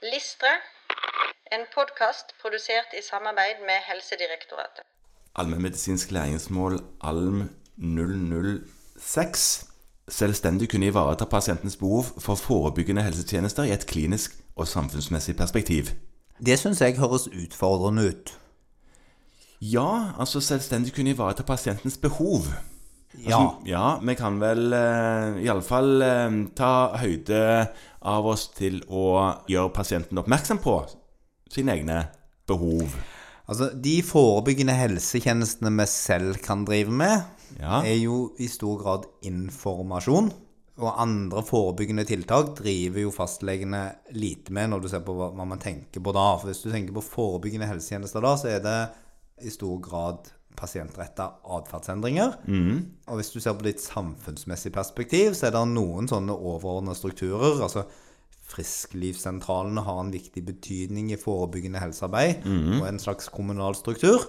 Listre, en podkast produsert i samarbeid med Helsedirektoratet. Allmennmedisinsk læringsmål ALM 006 selvstendig kunne ivareta pasientens behov for forebyggende helsetjenester i et klinisk og samfunnsmessig perspektiv. Det syns jeg høres utfordrende ut. Ja, altså selvstendig kunne ivareta pasientens behov. Ja. Altså, ja, vi kan vel eh, iallfall eh, ta høyde av oss til å gjøre pasienten oppmerksom på sine egne behov. Altså, de forebyggende helsetjenestene vi selv kan drive med, Ja. er jo i stor grad informasjon. Og andre forebyggende tiltak driver jo fastlegene lite med når du ser på hva hva man tenker på da. For hvis du tenker på forebyggende helsetjenester da, så er det i stor grad pasientretta atferdsendringer. Og hvis du ser på ditt samfunnsmessig perspektiv, så er det noen sånne overordna strukturer. altså Frisklivssentralene har en viktig betydning i forebyggende helsearbeid og en slags kommunal struktur.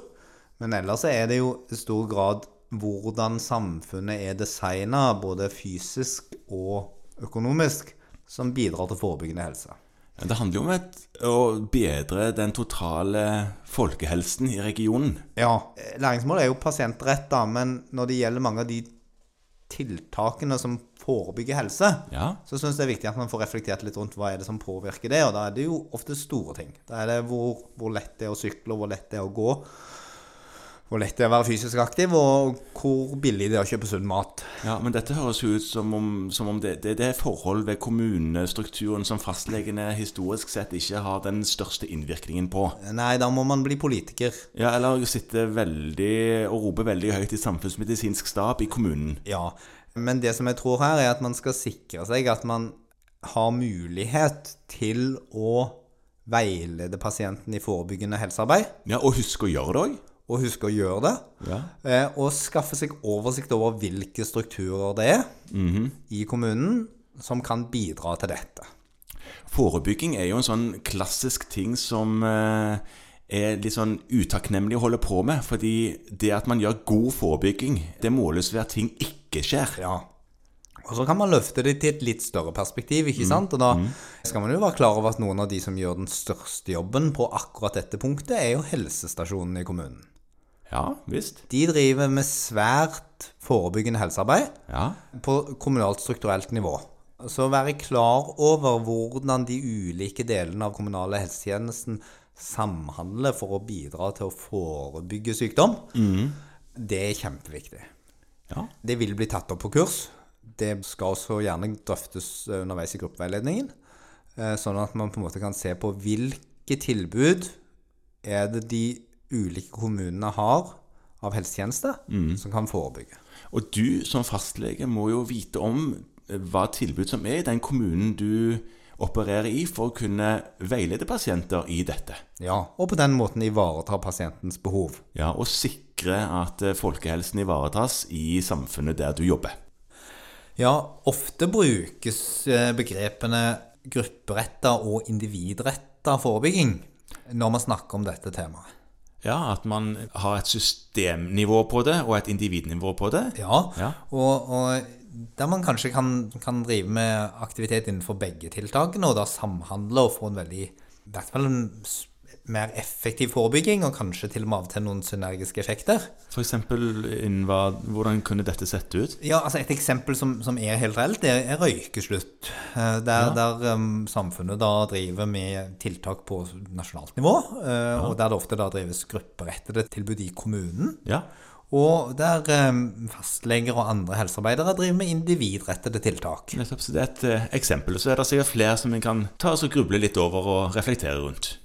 Men ellers så er det jo i stor grad hvordan samfunnet er designa, både fysisk og økonomisk, som bidrar til forebyggende helse. Det handler jo om et, å bedre den totale folkehelsen i regionen. Ja, læringsmål er jo pasientretta, men når det gjelder mange av de tiltakene som forebygger helse, Ja. så syns jeg det er viktig at man får reflektert litt rundt hva er det som påvirker det. Og da er det jo ofte store ting. Da er det hvor, hvor lett det er å sykle, hvor lett det er å gå, hvor lett det er å være fysisk aktiv, og hvor billig det er å kjøpe sunn mat. Ja, men dette høres jo ut som om, som om det, det, det er forhold ved kommunestrukturen som fastlegene historisk sett ikke har den største innvirkningen på. Nei, da må man bli politiker. Ja, eller sitte veldig og rope veldig høyt i samfunnsmedisinsk stab i kommunen. Ja. Men det som jeg tror her, er at man skal sikre seg at man har mulighet til å veilede pasienten i forebyggende helsearbeid, Ja, og husk å gjøre det òg. og huske å gjøre det. Ja. Eh, Og skaffe seg oversikt over hvilke strukturer det er i kommunen som kan bidra til dette. Forebygging er jo en sånn klassisk ting som eh, er litt sånn utakknemlig å holde på med. Fordi det at man gjør god forebygging, det måles ved at ting ikke skjer. Ja. Og så kan man løfte det til et litt større perspektiv, ikke sant? Og da skal man jo være klar over at noen av de som gjør den største jobben på akkurat dette punktet, er jo helsestasjonen i kommunen. Ja visst. De driver med svært forebyggende helsearbeid Ja. på kommunalt strukturelt nivå. Så være klar over hvordan de ulike delene av kommunale helsetjenesten samhandler for å bidra til å forebygge sykdom, det er kjempeviktig. ja. Det vil bli tatt opp på kurs. Det skal også gjerne drøftes eh, underveis i gruppeveiledningen, eh, sånn at man på en måte kan se på hvilke tilbud er det de ulike kommunene har av helsetjenester som kan forebygge. Og du som fastlege må jo vite om eh, hva tilbud som er i den kommunen du opererer i, for å kunne veilede pasienter i dette. Ja, og på den måten ivareta pasientens behov. Ja, Og sikre at eh, folkehelsen ivaretas i samfunnet der du jobber. Ja, ofte brukes eh, begrepene grupperetta og individretta forebygging når man snakker om dette temaet. Ja, at man har et systemnivå på det, og et individnivå på det. Ja, Ja. Og, og der man kanskje kan, kan drive med aktivitet innenfor begge tiltakene, og da samhandle og få en veldig i hvert fall en s- mer effektiv forebygging, og kanskje til og med av og til noen synergiske effekter. For eksempel, innen hva, hvordan kunne dette sett ut? Ja, altså Et eksempel som, som er helt reelt, det er røykeslutt. Eh, Der, der em, samfunnet da driver med tiltak på nasjonalt nivå, eh, og der det ofte da drives grupperettede tilbud i kommunen. Ja, Og der em, fastleger og andre helsearbeidere driver med individrettede tiltak. nettopp. Så det er et eh, eksempel. Så er det sikkert flere som en kan ta oss og gruble litt over og reflektere rundt.